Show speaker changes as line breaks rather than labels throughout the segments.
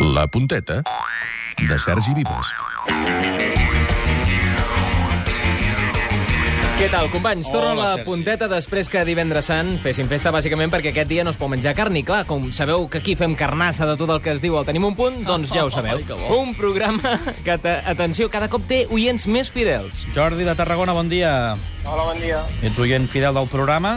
La punteta de Sergi Vives.
Què tal, companys? Torna
Hola,
la
Sergi.
punteta després que divendres sant féssim festa, bàsicament perquè aquest dia no es pot menjar carn, i clar, com sabeu que aquí fem carnassa de tot el que es diu al Tenim un punt, doncs ja ho sabeu.
Ai, que bo.
Un programa que, ta- atenció, cada cop té oients més fidels.
Jordi de Tarragona, bon dia.
Hola, bon dia.
Ets oient fidel del programa?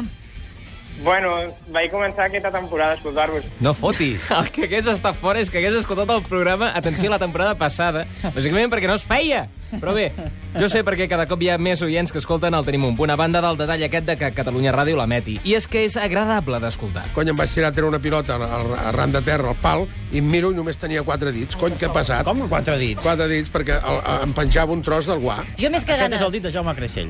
Bueno, vaig començar aquesta temporada a escoltar-vos.
No fotis.
El que hagués estat fora és que hagués escoltat el programa, atenció, la temporada passada, bàsicament perquè no es feia. Però bé, jo sé perquè cada cop hi ha més oients que escolten el Tenim un punt, a banda del detall aquest de que Catalunya Ràdio l'emeti. I és que és agradable d'escoltar.
Cony, em vaig tirar a treure una pilota al- arran de terra, al pal, i em miro i només tenia quatre dits. Cony, què ha passat?
Com quatre dits?
Quatre dits, perquè el, el, em penjava un tros del guà.
Jo més que
Aquest
ganes.
és el dit de Jaume Creixell.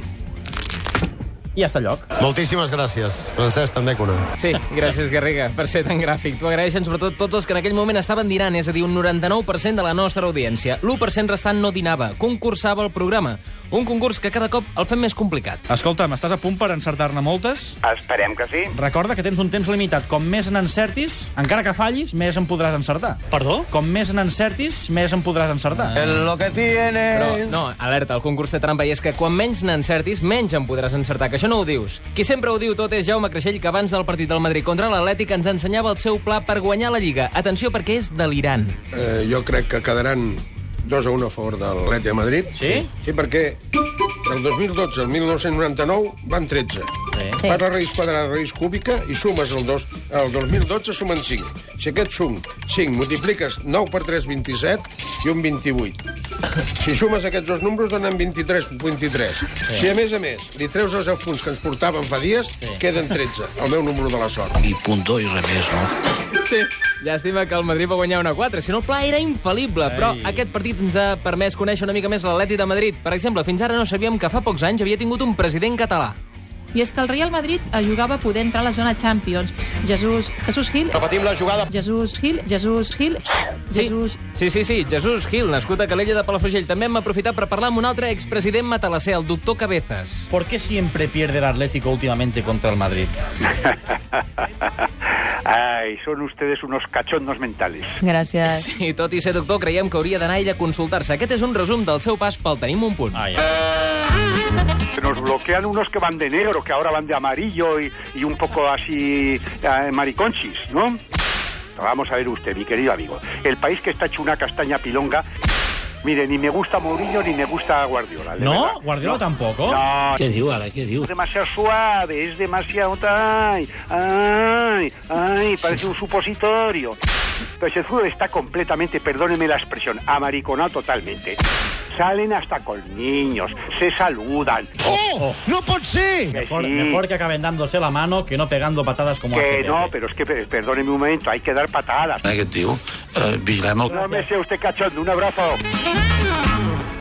I ja està a lloc.
Moltíssimes gràcies, Francesc Tandècona.
Sí, gràcies, Garriga, per ser tan gràfic. T'ho agraeixen sobretot tots els que en aquell moment estaven dinant, és a dir, un 99% de la nostra audiència. L'1% restant no dinava, concursava el programa. Un concurs que cada cop el fem més complicat.
Escolta'm, estàs a punt per encertar-ne moltes?
Ah, Esperem que sí.
Recorda que tens un temps limitat. Com més n'encertis, encara que fallis, més en podràs encertar. Perdó? Com més n'encertis, més en podràs encertar. El...
Però, no, alerta, el concurs té trampa i és que quan menys n'encertis, menys en podràs encertar, que això no ho dius. Qui sempre ho diu tot és Jaume Creixell, que abans del partit del Madrid contra l'Atlètic ens ensenyava el seu pla per guanyar la Lliga. Atenció, perquè és delirant.
Eh, jo crec que quedaran 2 a 1 a favor de l'Atleti de Madrid.
Sí?
Sí, perquè del 2012 al 1999 van 13. Sí.
Sí.
Fas la raïs quadrada, la raïs cúbica, i sumes el, dos, el 2012 sumen 5. Si aquest sum 5, multipliques 9 per 3, 27, i un 28. Si sumes aquests dos números, donen 23, 23. Sí. Si, a més a més, li treus els 10 punts que ens portaven fa dies, sí. queden 13, el meu número de la sort.
Sí. Llàstima que el Madrid va guanyar una 4, si no el pla era infal·lible, Ei. però aquest partit ens ha permès conèixer una mica més l'Atleti de Madrid. Per exemple, fins ara no sabíem que fa pocs anys havia tingut un president català.
I és que el Real Madrid eh, jugava a poder entrar a la zona Champions. Jesús, Jesús Gil,
Repetim la jugada.
Jesús Gil, Jesús Gil,
Sí.
Jesús...
Sí, sí, sí, Jesús Gil, nascut a Calella de Palafrugell. També hem aprofitat per parlar amb un altre expresident matalasser, el doctor Cabezas.
¿Por qué siempre pierde el Atlético últimamente contra el Madrid?
Ay, son ustedes unos cachondos mentales.
Gràcies.
Sí, tot i ser doctor, creiem que hauria d'anar ell a consultar-se. Aquest és un resum del seu pas pel Tenim un punt.
Ah, ja.
Se nos bloquean unos que van de negro, que ahora van de amarillo y, y un poco así eh, mariconchis, ¿no? Vamos a ver usted, mi querido amigo. El país que está hecho una castaña pilonga... Mire, ni me gusta Mourinho ni me gusta Guardiola. de
¿No?
verdad.
¿Guardiola
No.
tampoco?
No,
¿Qué digo, ahora? ¿Qué digo?
es demasiado suave, es demasiado... Ay, ay, ay, parece un supositorio. Pues el fútbol está completamente, perdóneme la expresión, amariconado totalmente. Salen hasta con niños, se saludan.
Oh,
No pot ser!
Que
Mejor,
sí,
mejor que acaben dándose la mano que no pegando patadas como
que
hace
no,
Pepe.
pero es que per- perdóneme un momento, hay que dar patadas.
Aquest tio, eh, vigilem el...
No me sea usted cachondo, un abrazo.